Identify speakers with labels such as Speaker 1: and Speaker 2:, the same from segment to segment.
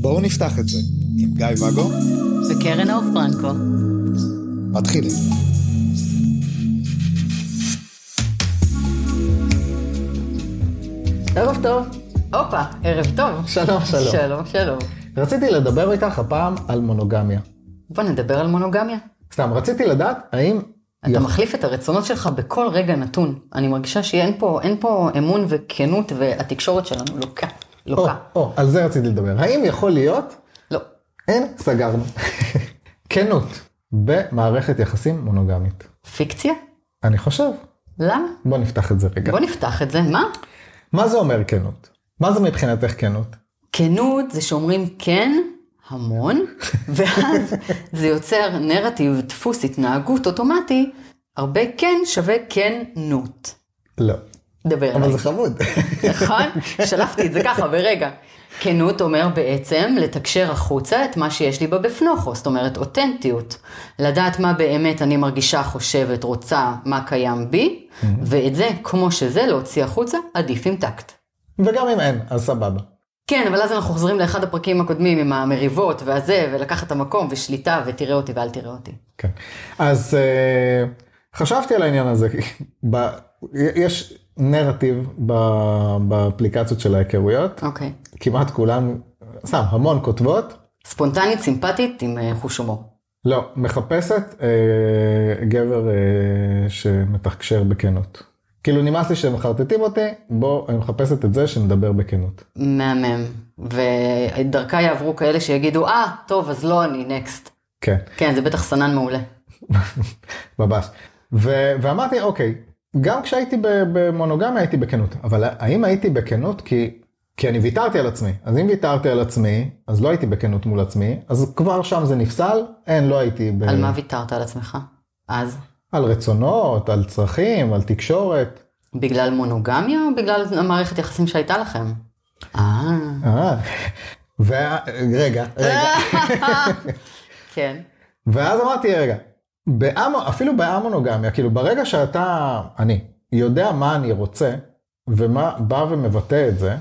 Speaker 1: בואו נפתח את זה עם גיא ואגו,
Speaker 2: וקרן אור פרנקו.
Speaker 1: מתחילים.
Speaker 3: ערב טוב.
Speaker 2: הופה, ערב טוב.
Speaker 3: שלום, שלום.
Speaker 2: שלום, שלום.
Speaker 3: רציתי לדבר איתך הפעם על מונוגמיה.
Speaker 2: בוא נדבר על מונוגמיה.
Speaker 3: סתם, רציתי לדעת האם...
Speaker 2: אתה
Speaker 3: יח-
Speaker 2: מחליף את הרצונות שלך בכל רגע נתון. אני מרגישה שאין פה, אין פה אמון וכנות, והתקשורת שלנו לוקה.
Speaker 3: או,
Speaker 2: לוקה.
Speaker 3: או, על זה רציתי לדבר. האם יכול להיות?
Speaker 2: לא.
Speaker 3: אין, סגרנו. כנות במערכת יחסים מונוגמית.
Speaker 2: פיקציה?
Speaker 3: אני חושב.
Speaker 2: למה?
Speaker 3: בוא נפתח את זה רגע.
Speaker 2: בוא נפתח את זה. מה?
Speaker 3: מה זה אומר כנות? מה זה מבחינתך כנות?
Speaker 2: כנות זה שאומרים כן המון, ואז זה יוצר נרטיב, דפוס התנהגות אוטומטי, הרבה כן שווה כנות.
Speaker 3: לא.
Speaker 2: דבר
Speaker 3: אבל
Speaker 2: עליי.
Speaker 3: זה חמוד.
Speaker 2: נכון? שלפתי את זה ככה ברגע. כנות אומר בעצם לתקשר החוצה את מה שיש לי בבפנוכו, זאת אומרת אותנטיות. לדעת מה באמת אני מרגישה, חושבת, רוצה, מה קיים בי, ואת זה, כמו שזה, להוציא החוצה, עדיף עם טקט.
Speaker 3: וגם אם אין, אז סבבה.
Speaker 2: כן, אבל אז אנחנו חוזרים לאחד הפרקים הקודמים עם המריבות והזה, ולקחת את המקום ושליטה, ותראה אותי ואל תראה אותי.
Speaker 3: כן. אז אה, חשבתי על העניין הזה. ב... יש נרטיב ב... באפליקציות של ההיכרויות,
Speaker 2: אוקיי.
Speaker 3: כמעט כולם, סתם, המון כותבות,
Speaker 2: ספונטנית, סימפטית, עם אה, חוש הומור.
Speaker 3: לא, מחפשת אה, גבר אה, שמתחקשר בכנות. כאילו נמאס לי שמחרטטים אותי, בוא, אני מחפשת את זה שנדבר בכנות.
Speaker 2: מהמם. ודרכה יעברו כאלה שיגידו, אה, טוב, אז לא אני, נקסט.
Speaker 3: כן,
Speaker 2: כן, זה בטח סנן מעולה.
Speaker 3: אה. ממש. ו- ואמרתי, אוקיי, גם כשהייתי ב- במונוגמיה הייתי בכנות, אבל האם הייתי בכנות כי... כי אני ויתרתי על עצמי, אז אם ויתרתי על עצמי, אז לא הייתי בכנות מול עצמי, אז כבר שם זה נפסל, אין, לא הייתי ב...
Speaker 2: על מה ויתרת על עצמך? אז?
Speaker 3: על רצונות, על צרכים, על תקשורת.
Speaker 2: בגלל מונוגמיה או בגלל המערכת יחסים שהייתה לכם? אה,
Speaker 3: אה, ו... רגע, רגע.
Speaker 2: כן.
Speaker 3: ואז אמרתי, רגע, באמ... אפילו באמונוגמיה, כאילו ברגע שאתה, אני, יודע מה אני רוצה, ומה בא ומבטא את זה,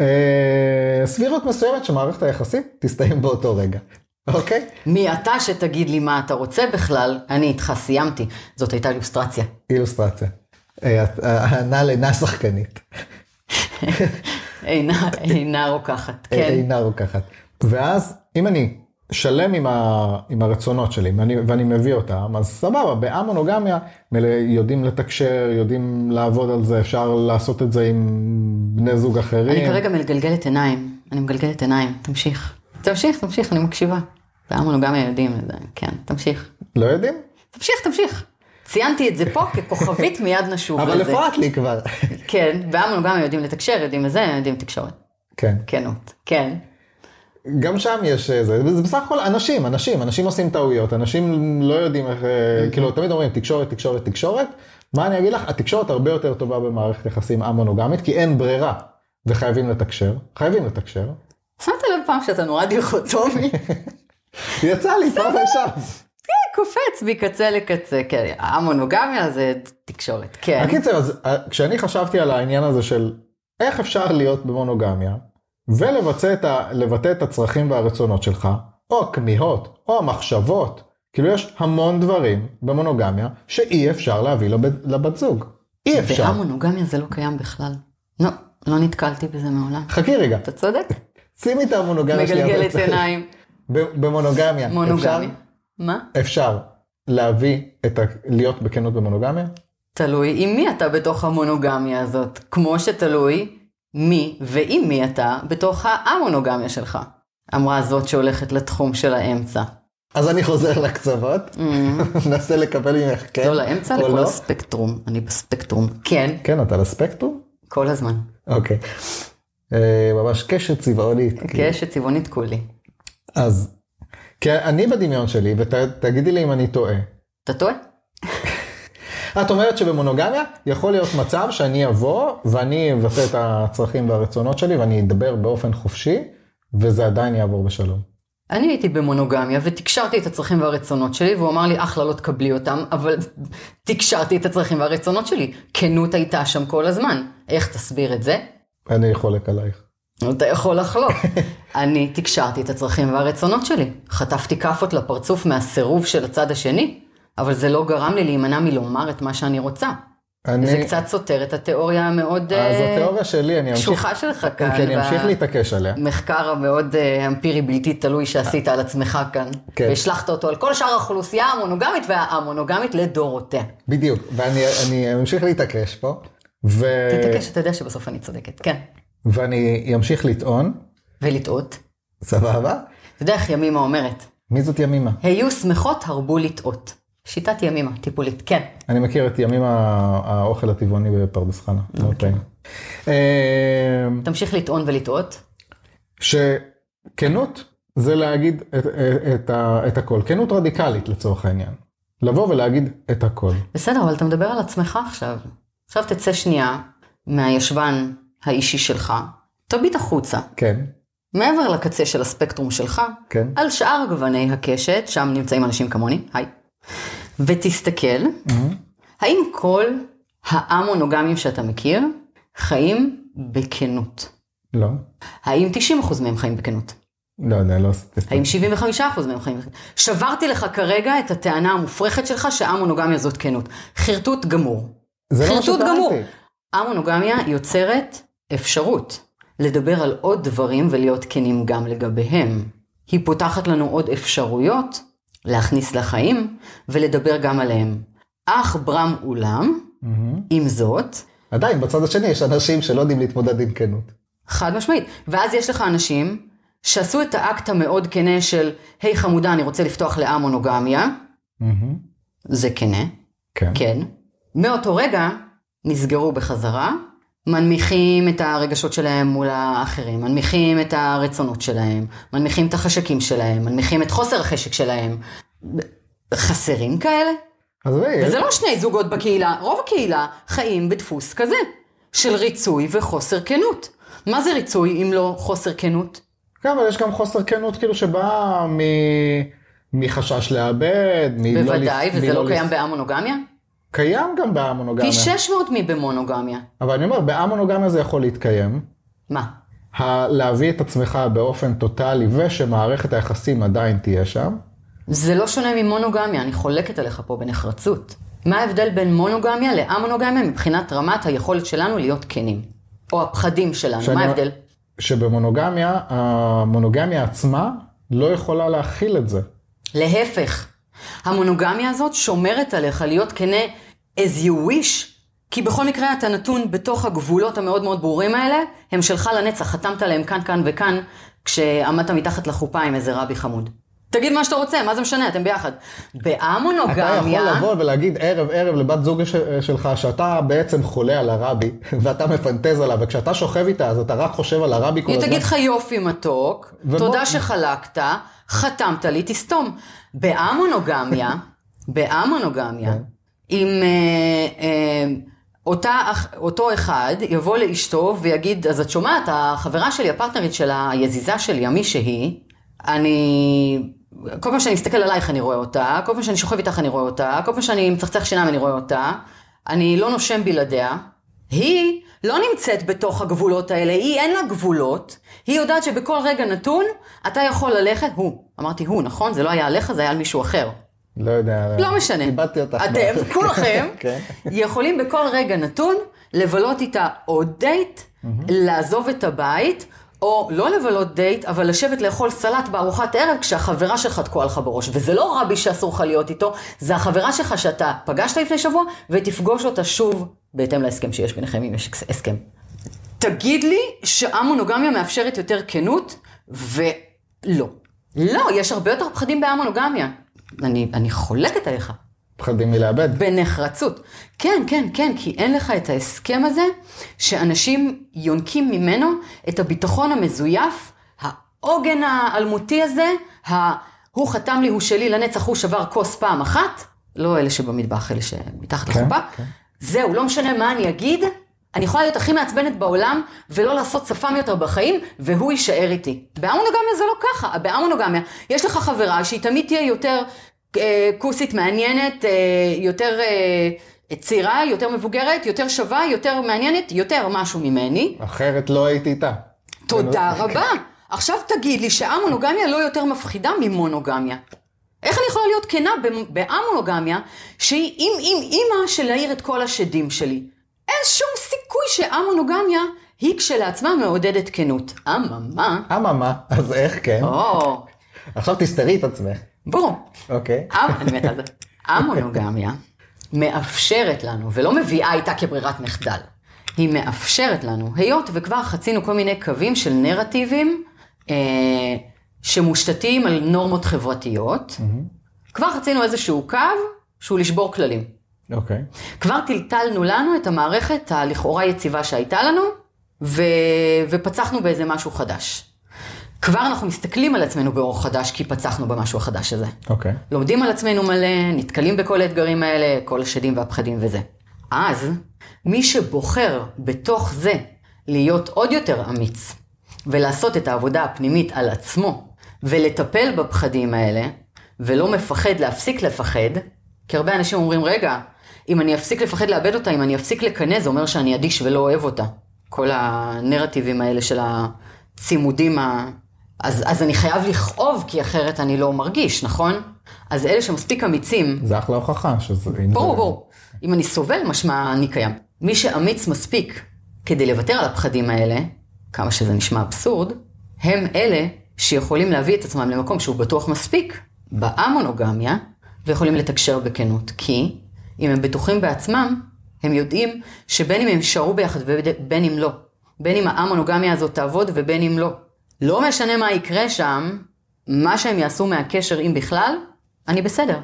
Speaker 3: אה, סבירות מסוימת שמערכת היחסים תסתיים באותו רגע, אוקיי?
Speaker 2: מי אתה שתגיד לי מה אתה רוצה בכלל? אני איתך סיימתי. זאת הייתה אילוסטרציה.
Speaker 3: אילוסטרציה. אה, את- אה, הנ"ל אינה שחקנית,
Speaker 2: אינה, אינה רוקחת,
Speaker 3: אה,
Speaker 2: כן.
Speaker 3: אינה רוקחת. ואז אם אני שלם עם, ה, עם הרצונות שלי ואני, ואני מביא אותם, אז סבבה, באמונוגמיה מלא- יודעים לתקשר, יודעים לעבוד על זה, אפשר לעשות את זה עם בני זוג אחרים.
Speaker 2: אני כרגע מגלגלת עיניים. אני מגלגלת עיניים. תמשיך. תמשיך, תמשיך, אני מקשיבה. והמונוגמיה יודעים את זה, כן. תמשיך.
Speaker 3: לא יודעים?
Speaker 2: תמשיך, תמשיך. ציינתי את זה פה ככוכבית מיד נשוב
Speaker 3: אבל
Speaker 2: לזה.
Speaker 3: הפרעת לי כבר.
Speaker 2: כן, והמונוגמיה יודעים לתקשר, יודעים את זה, יודעים תקשורת.
Speaker 3: כן,
Speaker 2: כנות, כן.
Speaker 3: גם שם יש אה, זה, זה בסך הכל אנשים, אנשים, אנשים עושים טעויות, אנשים לא יודעים איך, אה, כאילו תמיד אומרים תקשורת, תקשורת, תקשורת, מה אני אגיד לך, התקשורת הרבה יותר טובה במערכת יחסים א-מונוגמית, כי אין ברירה, וחייבים לתקשר, חייבים לתקשר,
Speaker 2: שמת לב פעם שאתה נורא דיכוטומי,
Speaker 3: יצא לי פעם ושם.
Speaker 2: קופץ מקצה לקצה, כן, המונוגמיה זה תקשורת, כן.
Speaker 3: הקיצר, אז אה, כשאני חשבתי על העניין הזה של איך אפשר להיות במונוגמיה ולבטא את, ה, לבטא את הצרכים והרצונות שלך, או הכמיהות, או המחשבות, כאילו יש המון דברים במונוגמיה שאי אפשר להביא לבת, לבת זוג. אי אפשר.
Speaker 2: והמונוגמיה זה לא קיים בכלל. לא, לא נתקלתי בזה מעולם.
Speaker 3: חכי רגע,
Speaker 2: אתה צודק,
Speaker 3: שימי את המונוגמיה שלי.
Speaker 2: מגלגלת
Speaker 3: אבל-
Speaker 2: עיניים,
Speaker 3: ב- במונוגמיה. אפשר,
Speaker 2: מונוגמיה. מה?
Speaker 3: אפשר להביא את ה... להיות בכנות במונוגמיה?
Speaker 2: תלוי עם מי אתה בתוך המונוגמיה הזאת, כמו שתלוי מי ועם מי אתה בתוך המונוגמיה שלך. אמרה זאת שהולכת לתחום של האמצע.
Speaker 3: אז אני חוזר לקצוות, מנסה לקבל ממך כן.
Speaker 2: Mm. לא לאמצע,
Speaker 3: או
Speaker 2: לכל
Speaker 3: לא.
Speaker 2: הספקטרום. אני בספקטרום. כן,
Speaker 3: כן, אתה לספקטרום?
Speaker 2: כל הזמן.
Speaker 3: אוקיי. אה, ממש קשת צבעונית. כאילו.
Speaker 2: כאשת צבעונית כולי.
Speaker 3: אז, כי אני בדמיון שלי, ותגידי לי אם אני טועה.
Speaker 2: אתה טועה?
Speaker 3: את אומרת שבמונוגמיה יכול להיות מצב שאני אבוא ואני אבטא את הצרכים והרצונות שלי ואני אדבר באופן חופשי, וזה עדיין יעבור בשלום.
Speaker 2: אני הייתי במונוגמיה ותקשרתי את הצרכים והרצונות שלי, והוא אמר לי, אחלה, לא תקבלי אותם, אבל תקשרתי את הצרכים והרצונות שלי. כנות הייתה שם כל הזמן. איך תסביר את זה?
Speaker 3: אני חולק עלייך.
Speaker 2: אתה יכול לחלוק. אני תקשרתי את הצרכים והרצונות שלי. חטפתי כאפות לפרצוף מהסירוב של הצד השני, אבל זה לא גרם לי להימנע מלומר את מה שאני רוצה.
Speaker 3: אני...
Speaker 2: זה קצת סותר את התיאוריה
Speaker 3: אז
Speaker 2: המאוד אה,
Speaker 3: התיאוריה שלי, אני אמשיך...
Speaker 2: קשוחה שלך כאן.
Speaker 3: כי אוקיי, אני אמשיך
Speaker 2: ב-
Speaker 3: להתעקש עליה.
Speaker 2: המחקר המאוד אה, אמפירי בלתי תלוי שעשית על עצמך כאן.
Speaker 3: אה. כן.
Speaker 2: והשלכת אותו על כל שאר האוכלוסייה המונוגמית והמונוגמית לדורותיה.
Speaker 3: אה. בדיוק, ואני אני אמשיך להתעקש פה, ו...
Speaker 2: תתעקש, אתה יודע שבסוף אני צודקת, כן.
Speaker 3: ואני אמשיך לטעון,
Speaker 2: ולטעות.
Speaker 3: סבבה?
Speaker 2: אתה יודע איך ימימה אומרת?
Speaker 3: מי זאת ימימה?
Speaker 2: היו שמחות, הרבו לטעות. שיטת ימימה, טיפולית, כן.
Speaker 3: אני מכיר את ימימה, האוכל הטבעוני בפרדס חנה. מאוד
Speaker 2: אוקיי.
Speaker 3: טעים. אה,
Speaker 2: תמשיך לטעון ולטעות.
Speaker 3: שכנות זה להגיד את, את, את, ה- את הכל, כנות רדיקלית לצורך העניין. לבוא ולהגיד את הכל.
Speaker 2: בסדר, אבל אתה מדבר על עצמך עכשיו. עכשיו תצא שנייה מהישבן האישי שלך, תביט החוצה,
Speaker 3: כן,
Speaker 2: מעבר לקצה של הספקטרום שלך,
Speaker 3: כן.
Speaker 2: על שאר גווני הקשת, שם נמצאים אנשים כמוני, היי, ותסתכל, האם כל המונוגמים שאתה מכיר חיים בכנות?
Speaker 3: לא,
Speaker 2: האם 90% מהם חיים בכנות?
Speaker 3: לא יודע, לא עשיתי סתם.
Speaker 2: האם 75% מהם חיים בכנות? שברתי לך כרגע את הטענה המופרכת שלך שהמונוגמיה זאת כנות. חרטוט גמור.
Speaker 3: זה לא מה
Speaker 2: חרטוט
Speaker 3: שטענתי.
Speaker 2: גמור. המונוגמיה יוצרת אפשרות לדבר על עוד דברים ולהיות כנים גם לגביהם. היא פותחת לנו עוד אפשרויות להכניס לחיים ולדבר גם עליהם. אך ברם אולם,
Speaker 3: מהמם.
Speaker 2: עם זאת,
Speaker 3: עדיין, בצד השני יש אנשים שלא יודעים להתמודד עם כנות.
Speaker 2: חד משמעית. ואז יש לך אנשים שעשו את האקט המאוד כנה של, היי חמודה, אני רוצה לפתוח לאה מונוגמיה,
Speaker 3: מהמם.
Speaker 2: זה כנה,
Speaker 3: כן.
Speaker 2: כן. מאותו רגע נסגרו בחזרה, מנמיכים את הרגשות שלהם מול האחרים, מנמיכים את הרצונות שלהם, מנמיכים את החשקים שלהם, מנמיכים את חוסר החשק שלהם. חסרים כאלה?
Speaker 3: אז רגע,
Speaker 2: וזה לא שני זוגות בקהילה, רוב הקהילה חיים בדפוס כזה, של ריצוי וחוסר כנות. מה זה ריצוי אם לא חוסר כנות?
Speaker 3: כן, אבל יש גם חוסר כנות כאילו שבאה מ... מחשש לאבד, מלא...
Speaker 2: בוודאי,
Speaker 3: לפ-
Speaker 2: וזה
Speaker 3: מלא
Speaker 2: לא קיים
Speaker 3: לפ-
Speaker 2: בהמונוגמיה?
Speaker 3: קיים גם בהמונוגמיה.
Speaker 2: פי 600 מבמונוגמיה.
Speaker 3: אבל אני אומר, בהמונוגמיה זה יכול להתקיים.
Speaker 2: מה?
Speaker 3: ה- להביא את עצמך באופן טוטאלי ושמערכת היחסים עדיין תהיה שם.
Speaker 2: זה לא שונה ממונוגמיה, אני חולקת עליך פה בנחרצות. מה ההבדל בין מונוגמיה לאמונוגמיה מבחינת רמת היכולת שלנו להיות כנים? או הפחדים שלנו,
Speaker 3: שאני-
Speaker 2: מה ההבדל?
Speaker 3: שבמונוגמיה, המונוגמיה עצמה לא יכולה להכיל את זה.
Speaker 2: להפך, המונוגמיה הזאת שומרת עליך להיות כנה as you wish, כי בכל מקרה אתה נתון בתוך הגבולות המאוד מאוד ברורים האלה, הם שלך לנצח, חתמת עליהם כאן, כאן וכאן, כשעמדת מתחת לחופה עם איזה רבי חמוד. תגיד מה שאתה רוצה, מה זה משנה, אתם ביחד.
Speaker 3: אתה
Speaker 2: באמונוגמיה...
Speaker 3: יכול לבוא ולהגיד ערב ערב לבת זוג ש- שלך שאתה בעצם חולה על הרבי ואתה מפנטז עליו וכשאתה שוכב איתה אז אתה רק חושב על הרבי כל
Speaker 2: היא
Speaker 3: הזמן.
Speaker 2: תגיד לך יופי מתוק,
Speaker 3: ומה-
Speaker 2: תודה שחלקת, חתמת לי, תסתום. באמונוגמיה, באמונוגמיה, אם אה, אה, אותה, אח- אותו אחד יבוא לאשתו ויגיד, אז את שומעת, החברה שלי, הפרטנרית שלה, היזיזה שלי, המי שהיא, אני... כל פעם שאני מסתכל עלייך אני רואה אותה, כל פעם שאני שוכב איתך אני רואה אותה, כל פעם שאני מצחצח שיניים אני רואה אותה, אני לא נושם בלעדיה. היא לא נמצאת בתוך הגבולות האלה, היא אין לה גבולות, היא יודעת שבכל רגע נתון אתה יכול ללכת, הוא, אמרתי הוא, נכון? זה לא היה עליך, זה היה על מישהו אחר.
Speaker 3: לא יודע.
Speaker 2: לא משנה.
Speaker 3: איבדתי אותך.
Speaker 2: אתם, כולכם,
Speaker 3: כן.
Speaker 2: יכולים בכל רגע נתון לבלות איתה עוד דייט, לעזוב את הבית, או לא לבלות דייט, אבל לשבת לאכול סלט בארוחת ערב כשהחברה שלך תקועה לך בראש. וזה לא רבי שאסור לך להיות איתו, זה החברה שלך שאתה פגשת לפני שבוע, ותפגוש אותה שוב, בהתאם להסכם שיש ביניכם, אם יש הסכם. תגיד לי שהמונוגמיה מאפשרת יותר כנות, ולא. לא, יש הרבה יותר פחדים בהמונוגמיה. אני, אני חולקת עליך.
Speaker 3: פחדים מלאבד.
Speaker 2: בנחרצות. כן, כן, כן, כי אין לך את ההסכם הזה שאנשים יונקים ממנו את הביטחון המזויף, העוגן האלמותי הזה, ה... הוא חתם לי, הוא שלי, לנצח הוא שבר כוס פעם אחת, לא אלה שבמטבח, אלה שמתחת
Speaker 3: כן,
Speaker 2: לחופה.
Speaker 3: כן.
Speaker 2: זהו, לא משנה מה אני אגיד, אני יכולה להיות הכי מעצבנת בעולם, ולא לעשות שפם יותר בחיים, והוא יישאר איתי. בהמונוגמיה זה לא ככה, בהמונוגמיה. יש לך חברה שהיא תמיד תהיה יותר אה, כוסית, מעניינת, אה, יותר אה, צעירה, יותר מבוגרת, יותר שווה, יותר מעניינת, יותר משהו ממני.
Speaker 3: אחרת לא הייתי איתה.
Speaker 2: תודה רבה. עכשיו תגיד לי שהמונוגמיה לא יותר מפחידה ממונוגמיה. איך אני יכולה להיות כנה במ- בהמונוגמיה, שהיא אם אם אימא של להעיר את כל השדים שלי? אין שום סיכוי שהמונוגמיה היא כשלעצמה מעודדת כנות. אממה.
Speaker 3: אממה, אז איך כן?
Speaker 2: או,
Speaker 3: עכשיו תסתרי את עצמך.
Speaker 2: בואו.
Speaker 3: אוקיי.
Speaker 2: אמ- אני מתה על זה. המונוגמיה מאפשרת לנו, ולא מביאה איתה כברירת מחדל, היא מאפשרת לנו, היות וכבר חצינו כל מיני קווים של נרטיבים אה, שמושתתים על נורמות חברתיות, כבר חצינו איזשהו קו שהוא לשבור כללים.
Speaker 3: אוקיי.
Speaker 2: כבר טלטלנו לנו את המערכת הלכאורה יציבה שהייתה לנו, ו... ופצחנו באיזה משהו חדש. כבר אנחנו מסתכלים על עצמנו באור חדש, כי פצחנו במשהו החדש הזה.
Speaker 3: אוקיי.
Speaker 2: לומדים על עצמנו מלא, נתקלים בכל האתגרים האלה, כל השדים והפחדים וזה. אז, מי שבוחר בתוך זה להיות עוד יותר אמיץ, ולעשות את העבודה הפנימית על עצמו, ולטפל בפחדים האלה, ולא מפחד להפסיק לפחד, כי הרבה אנשים אומרים, רגע, אם אני אפסיק לפחד לאבד אותה, אם אני אפסיק לקנא, זה אומר שאני אדיש ולא אוהב אותה. כל הנרטיבים האלה של הצימודים ה... אז, אז אני חייב לכאוב, כי אחרת אני לא מרגיש, נכון? אז אלה שמספיק אמיצים,
Speaker 3: זה אחלה הוכחה שזה... אם זה-
Speaker 2: ברור, ברור. אם אני סובל, משמע אני קיים. מי שאמיץ מספיק כדי לוותר על הפחדים האלה, כמה שזה נשמע אבסורד, הם אלה שיכולים להביא את עצמם למקום שהוא בטוח מספיק, באמונוגמיה, ויכולים לתקשר בכנות. כי אם הם בטוחים בעצמם, הם יודעים שבין אם הם יישארו ביחד ובין אם לא. בין אם האמונוגמיה הזאת תעבוד ובין אם לא. לא משנה מה יקרה שם, מה שהם יעשו מהקשר, אם בכלל, אני בסדר.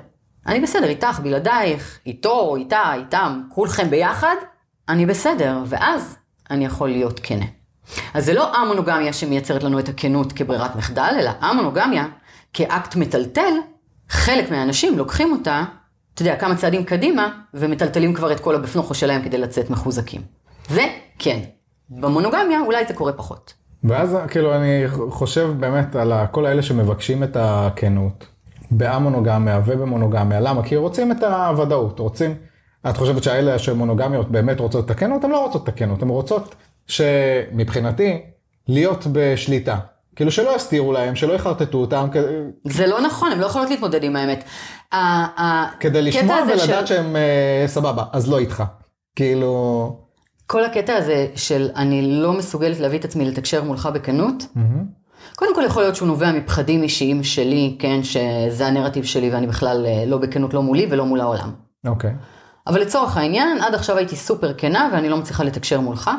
Speaker 2: אני בסדר, איתך, בלעדייך, איתו, איתה, איתם, כולכם ביחד, אני בסדר, ואז אני יכול להיות כנה. אז זה לא המונוגמיה שמייצרת לנו את הכנות כברירת מחדל, אלא המונוגמיה כאקט מטלטל, חלק מהאנשים לוקחים אותה, אתה יודע, כמה צעדים קדימה, ומטלטלים כבר את כל הבפנוכו שלהם כדי לצאת מחוזקים. זה כן. במונוגמיה אולי זה קורה פחות.
Speaker 3: ואז כאילו אני חושב באמת על ה- כל האלה שמבקשים את הכנות באמונוגמיה ובמונוגמיה. למה? כי רוצים את הוודאות, רוצים... את חושבת שהאלה שמונוגמיות באמת רוצות את הכנות? הן לא רוצות את הכנות, הן רוצות שמבחינתי להיות בשליטה. כאילו שלא יסתירו להם, שלא יחרטטו אותם, כ-
Speaker 2: זה לא נכון, הן לא יכולות להתמודד עם האמת. ה- ה-
Speaker 3: כדי
Speaker 2: הקטע
Speaker 3: לשמוע
Speaker 2: הזה
Speaker 3: ולדעת
Speaker 2: של-
Speaker 3: שהם אה, סבבה, אז לא איתך. כאילו...
Speaker 2: כל הקטע הזה של אני לא מסוגלת להביא את עצמי לתקשר מולך בכנות, קודם כל יכול להיות שהוא נובע מפחדים אישיים שלי, כן, שזה הנרטיב שלי ואני בכלל אה, לא בכנות לא מולי ולא מול העולם.
Speaker 3: אוקיי.
Speaker 2: אבל לצורך העניין, עד עכשיו הייתי סופר כנה ואני לא מצליחה לתקשר מולך.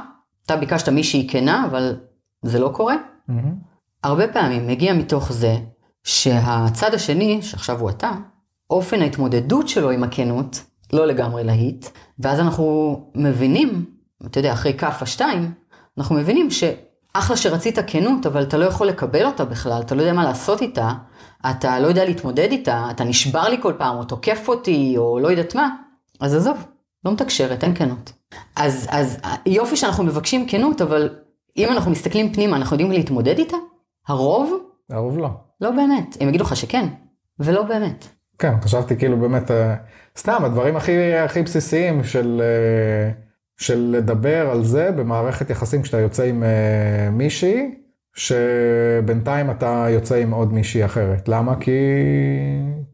Speaker 2: אתה ביקשת מישהי כנה, אבל זה לא קורה.
Speaker 3: מהמם.
Speaker 2: הרבה פעמים מגיע מתוך זה שהצד השני, שעכשיו הוא אתה, אופן ההתמודדות שלו עם הכנות, לא לגמרי להיט, ואז אנחנו מבינים, אתה יודע, אחרי כאפה שתיים, אנחנו מבינים שאחלה שרצית כנות, אבל אתה לא יכול לקבל אותה בכלל, אתה לא יודע מה לעשות איתה, אתה לא יודע להתמודד איתה, אתה נשבר לי כל פעם, או תוקף אותי, או לא יודעת מה, אז עזוב, לא מתקשרת, אין כנות. אז, אז יופי שאנחנו מבקשים כנות, אבל אם אנחנו מסתכלים פנימה, אנחנו יודעים להתמודד איתה? הרוב?
Speaker 3: הרוב לא.
Speaker 2: לא באמת. הם יגידו לך שכן, ולא באמת.
Speaker 3: כן, חשבתי כאילו באמת, אה, סתם, הדברים הכי, הכי בסיסיים של, אה, של לדבר על זה במערכת יחסים כשאתה יוצא עם אה, מישהי, שבינתיים אתה יוצא עם עוד מישהי אחרת. למה? כי,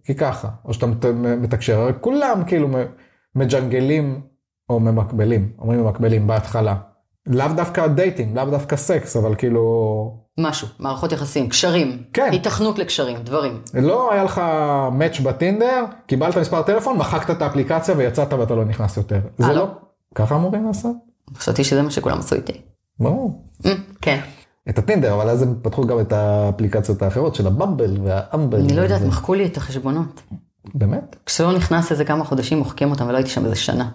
Speaker 3: כי ככה. או שאתה מת- מתקשר, הרי כולם כאילו מ- מג'נגלים או ממקבלים, אומרים ממקבלים בהתחלה. לאו דווקא דייטים, לאו דווקא סקס, אבל כאילו,
Speaker 2: משהו, מערכות יחסים, קשרים.
Speaker 3: כן.
Speaker 2: התכנות לקשרים, דברים.
Speaker 3: לא היה לך מאץ' בטינדר, קיבלת מספר טלפון, מחקת את האפליקציה ויצאת ואתה לא נכנס יותר. זה
Speaker 2: הלו.
Speaker 3: לא... ככה אמורים לעשות?
Speaker 2: חשבתי שזה מה שכולם עשו איתי.
Speaker 3: ברור.
Speaker 2: Mm, כן.
Speaker 3: את הטינדר, אבל אז הם פתחו גם את האפליקציות האחרות של הבמבל והאמבל.
Speaker 2: אני לא יודעת,
Speaker 3: וזה.
Speaker 2: מחקו לי את החשבונות.
Speaker 3: באמת?
Speaker 2: כשלא נכנס איזה כמה חודשים, מוחקים אותם, ולא הייתי שם איזה שנה.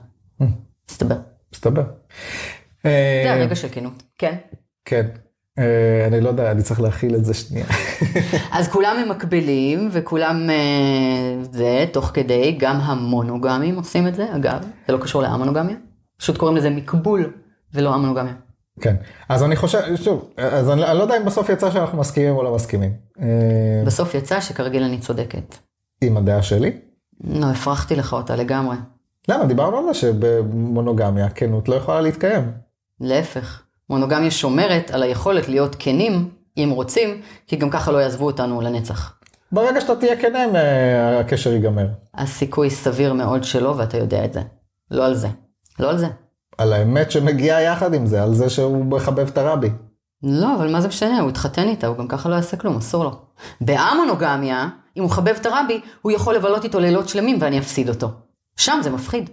Speaker 2: מסתבר.
Speaker 3: מסתבר.
Speaker 2: זה
Speaker 3: אה,
Speaker 2: הרגע של כנות. כן.
Speaker 3: כן. אה, אני לא יודע, אני צריך להכיל את זה שנייה.
Speaker 2: אז כולם הם מקבילים, וכולם אה, זה, תוך כדי, גם המונוגמים עושים את זה, אגב, זה לא קשור להמונוגמיה, פשוט קוראים לזה מקבול, ולא המונוגמיה.
Speaker 3: כן. אז אני חושב, שוב, אז אני, אני לא יודע אם בסוף יצא שאנחנו מסכימים או לא מסכימים. אה,
Speaker 2: בסוף יצא שכרגיל אני צודקת.
Speaker 3: עם הדעה שלי.
Speaker 2: לא, הפרחתי לך אותה לגמרי.
Speaker 3: למה? דיברנו על זה שבמונוגמיה כנות לא יכולה להתקיים.
Speaker 2: להפך, מונוגמיה שומרת על היכולת להיות כנים, אם רוצים, כי גם ככה לא יעזבו אותנו לנצח.
Speaker 3: ברגע שאתה תהיה כן, הם, אה, הקשר ייגמר.
Speaker 2: הסיכוי סביר מאוד שלא, ואתה יודע את זה. לא על זה. לא על זה.
Speaker 3: על האמת שמגיעה יחד עם זה, על זה שהוא מחבב את הרבי.
Speaker 2: לא, אבל מה זה משנה? הוא התחתן איתה, הוא גם ככה לא יעשה כלום, אסור לו. באמונוגמיה, אם הוא חבב את הרבי, הוא יכול לבלות איתו לילות שלמים ואני אפסיד אותו. שם זה מפחיד.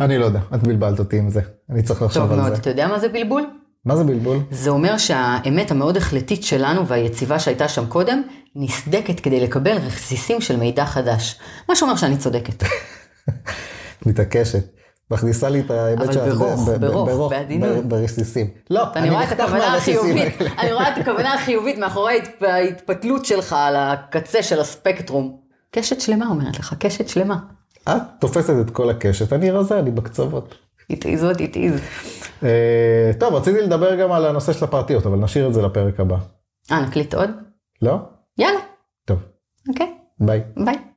Speaker 3: אני לא יודע, את בלבלת אותי עם זה. אני צריך לחשוב
Speaker 2: טוב
Speaker 3: על
Speaker 2: מאוד.
Speaker 3: זה.
Speaker 2: אתה יודע מה זה בלבול?
Speaker 3: מה זה בלבול?
Speaker 2: זה אומר שהאמת המאוד החלטית שלנו והיציבה שהייתה שם קודם, נסדקת כדי לקבל רסיסים של מידע חדש. מה שאומר שאני צודקת.
Speaker 3: מתעקשת. מכניסה לי את האמת
Speaker 2: אבל
Speaker 3: שלך.
Speaker 2: ברוך,
Speaker 3: ב- ב-
Speaker 2: ברוך,
Speaker 3: ברוך,
Speaker 2: בעדינות.
Speaker 3: ב- ברסיסים. לא,
Speaker 2: אני רואה את
Speaker 3: נחתך
Speaker 2: הכוונה
Speaker 3: מהרסיסים
Speaker 2: החיובית,
Speaker 3: האלה.
Speaker 2: אני רואה את הכוונה החיובית מאחורי ההת- ההתפתלות שלך על הקצה של הספקטרום. קשת שלמה אומרת לך, קשת שלמה.
Speaker 3: את תופסת את כל הקשת, אני רזה, אני בקצוות.
Speaker 2: It is what it is.
Speaker 3: אה, טוב, רציתי לדבר גם על הנושא של הפרטיות, אבל נשאיר את זה לפרק הבא.
Speaker 2: אה, נקליט עוד?
Speaker 3: לא?
Speaker 2: יאללה,
Speaker 3: טוב,
Speaker 2: אוקיי,
Speaker 3: ביי.
Speaker 2: ביי.